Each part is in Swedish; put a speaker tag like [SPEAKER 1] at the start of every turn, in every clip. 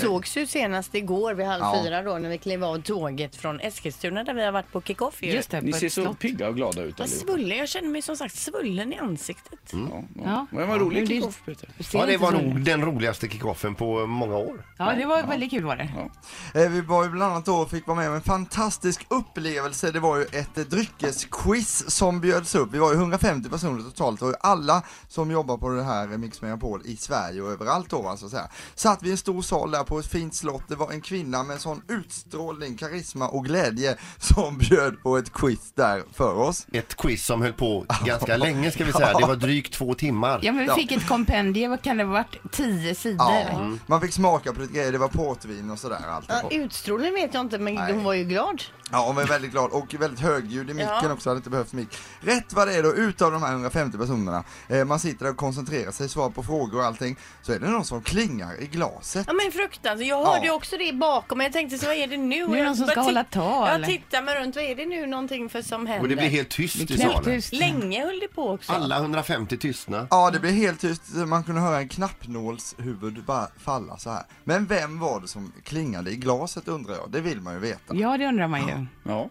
[SPEAKER 1] sågs ju senast igår vid halv
[SPEAKER 2] Ja.
[SPEAKER 1] fyra då när vi klev av tåget från Eskilstuna där vi har varit på kickoff ju.
[SPEAKER 3] Just det,
[SPEAKER 2] Ni
[SPEAKER 3] på
[SPEAKER 2] ser
[SPEAKER 3] ett
[SPEAKER 2] så
[SPEAKER 3] slott.
[SPEAKER 2] pigga och glada ut
[SPEAKER 1] Vad
[SPEAKER 2] allihopa.
[SPEAKER 1] svullen, jag känner mig som sagt svullen i ansiktet.
[SPEAKER 2] Ja, ja.
[SPEAKER 3] Ja.
[SPEAKER 2] Men det var en rolig kickoff, Peter.
[SPEAKER 3] Du ser
[SPEAKER 4] Ja, det
[SPEAKER 3] inte
[SPEAKER 4] var
[SPEAKER 3] så-
[SPEAKER 4] nog den roligaste kickoffen på många år.
[SPEAKER 3] Ja, det var väldigt kul var det.
[SPEAKER 5] Eh, Vi var ju bland annat då och fick vara med om en fantastisk upplevelse. Det var ju ett eh, dryckesquiz som bjöds upp. Vi var ju 150 personer totalt och alla som jobbar på det här eh, Mix Megapol i Sverige och överallt då va, så att säga. Satt vi i en stor sal där på ett fint slott. Det var en kvinna med sån utstrålning, karisma och glädje som bjöd på ett quiz där för oss.
[SPEAKER 4] Ett quiz som höll på ganska länge ska vi säga. Det var drygt två timmar.
[SPEAKER 3] Ja, men vi
[SPEAKER 5] Ja.
[SPEAKER 3] fick ett kompendium, vad kan det ha varit? Tio sidor.
[SPEAKER 5] Ja, man fick smaka på lite grejer. Det var portvin och sådär allt.
[SPEAKER 1] Ja, utstrålning vet jag inte men
[SPEAKER 5] Nej.
[SPEAKER 1] hon var ju glad.
[SPEAKER 5] Ja, hon var väldigt glad och väldigt högljudd i micken
[SPEAKER 1] Ja.
[SPEAKER 5] också, hade inte behövt mick. Rätt vad det är då, utav de här 150 personerna, eh, man sitter där och koncentrerar sig, svarar på frågor och allting, så är det någon som klingar i glaset.
[SPEAKER 1] Ja men fruktansvärt. Jag hörde ju
[SPEAKER 5] Ja.
[SPEAKER 1] också det bakom men jag tänkte så vad är det nu?
[SPEAKER 3] Nu är det någon som
[SPEAKER 1] Jag
[SPEAKER 3] ska
[SPEAKER 1] bara
[SPEAKER 3] hålla
[SPEAKER 1] titt-
[SPEAKER 3] tal.
[SPEAKER 1] Jag tittar mig runt, vad är det nu någonting för som händer?
[SPEAKER 4] Och det blev helt tyst i salen.
[SPEAKER 3] Knäpptyst.
[SPEAKER 1] Länge höll det på också.
[SPEAKER 4] Alla 150 tystna.
[SPEAKER 5] Ja, det blev helt tyst, man kunde höra en knappnålshuvud bara falla så här. Men vem var det som klingade i glaset undrar jag, det vill man ju veta.
[SPEAKER 3] Ja, det undrar man ju.
[SPEAKER 2] Ja.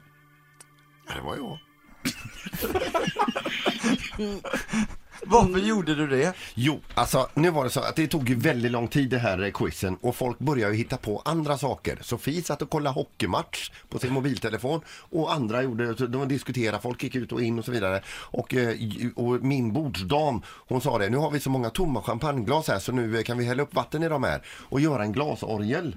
[SPEAKER 4] Ja, det var jag.
[SPEAKER 5] Varför gjorde du det?
[SPEAKER 4] Jo, alltså nu var det så att det tog ju väldigt lång tid det här eh, quizen och folk började ju hitta på andra saker. Sofie satt och kollade hockeymatch på sin mobiltelefon och andra gjorde, de diskuterade, folk gick ut och in och så vidare. Och, eh, och min bordsdam, hon sa det, nu har vi så många tomma champagneglas här så nu eh, kan vi hälla upp vatten i de här och göra en glasorgel.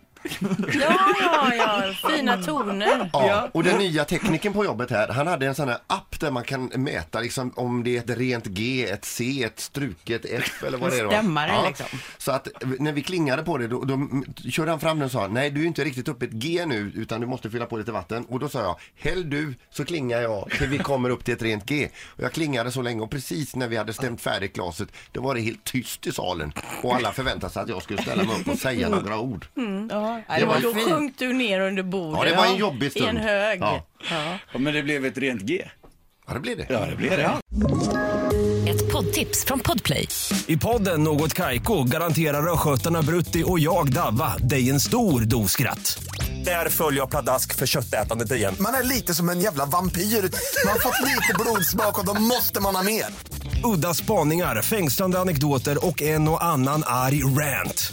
[SPEAKER 1] Ja, ja, ja. Fina toner.
[SPEAKER 4] Ja, och den nya tekniken på jobbet här, han hade en sån här app där man kan mäta liksom om det är ett rent G, ett C, ett struket F eller vad det är. då.
[SPEAKER 3] Stämmare, liksom.
[SPEAKER 4] Så att när vi klingade på det, då, då körde han fram den och sa, nej du är inte riktigt uppe i ett G nu utan du måste fylla på lite vatten. Och då sa jag, häll du så klingar jag till vi kommer upp till ett rent G. Och jag klingade så länge och precis när vi hade stämt färdigt glaset, då var det helt tyst i salen. Och alla förväntade sig att jag skulle ställa mig upp och säga några ord.
[SPEAKER 3] Mm. Ja,
[SPEAKER 4] Det
[SPEAKER 3] det
[SPEAKER 4] var
[SPEAKER 3] var
[SPEAKER 1] Då
[SPEAKER 4] fint.
[SPEAKER 1] sjönk du ner under bordet.
[SPEAKER 4] Ja, det var en jobbig stund.
[SPEAKER 1] I en hög.
[SPEAKER 4] Ja.
[SPEAKER 1] Ja.
[SPEAKER 2] Ja, Men det blev ett rent G.
[SPEAKER 4] Ja, det blev det.
[SPEAKER 2] Ja, det blev det.
[SPEAKER 6] Ett poddtips från Podplay.
[SPEAKER 7] I podden Något Kaiko garanterar östgötarna Brutti och jag, Davva, dig en stor dos skratt. Där följer jag pladask för köttätandet igen.
[SPEAKER 8] Man är lite som en jävla vampyr. Man har fått lite blodsmak och då måste man ha mer.
[SPEAKER 7] Udda spaningar, fängslande anekdoter och en och annan arg rant.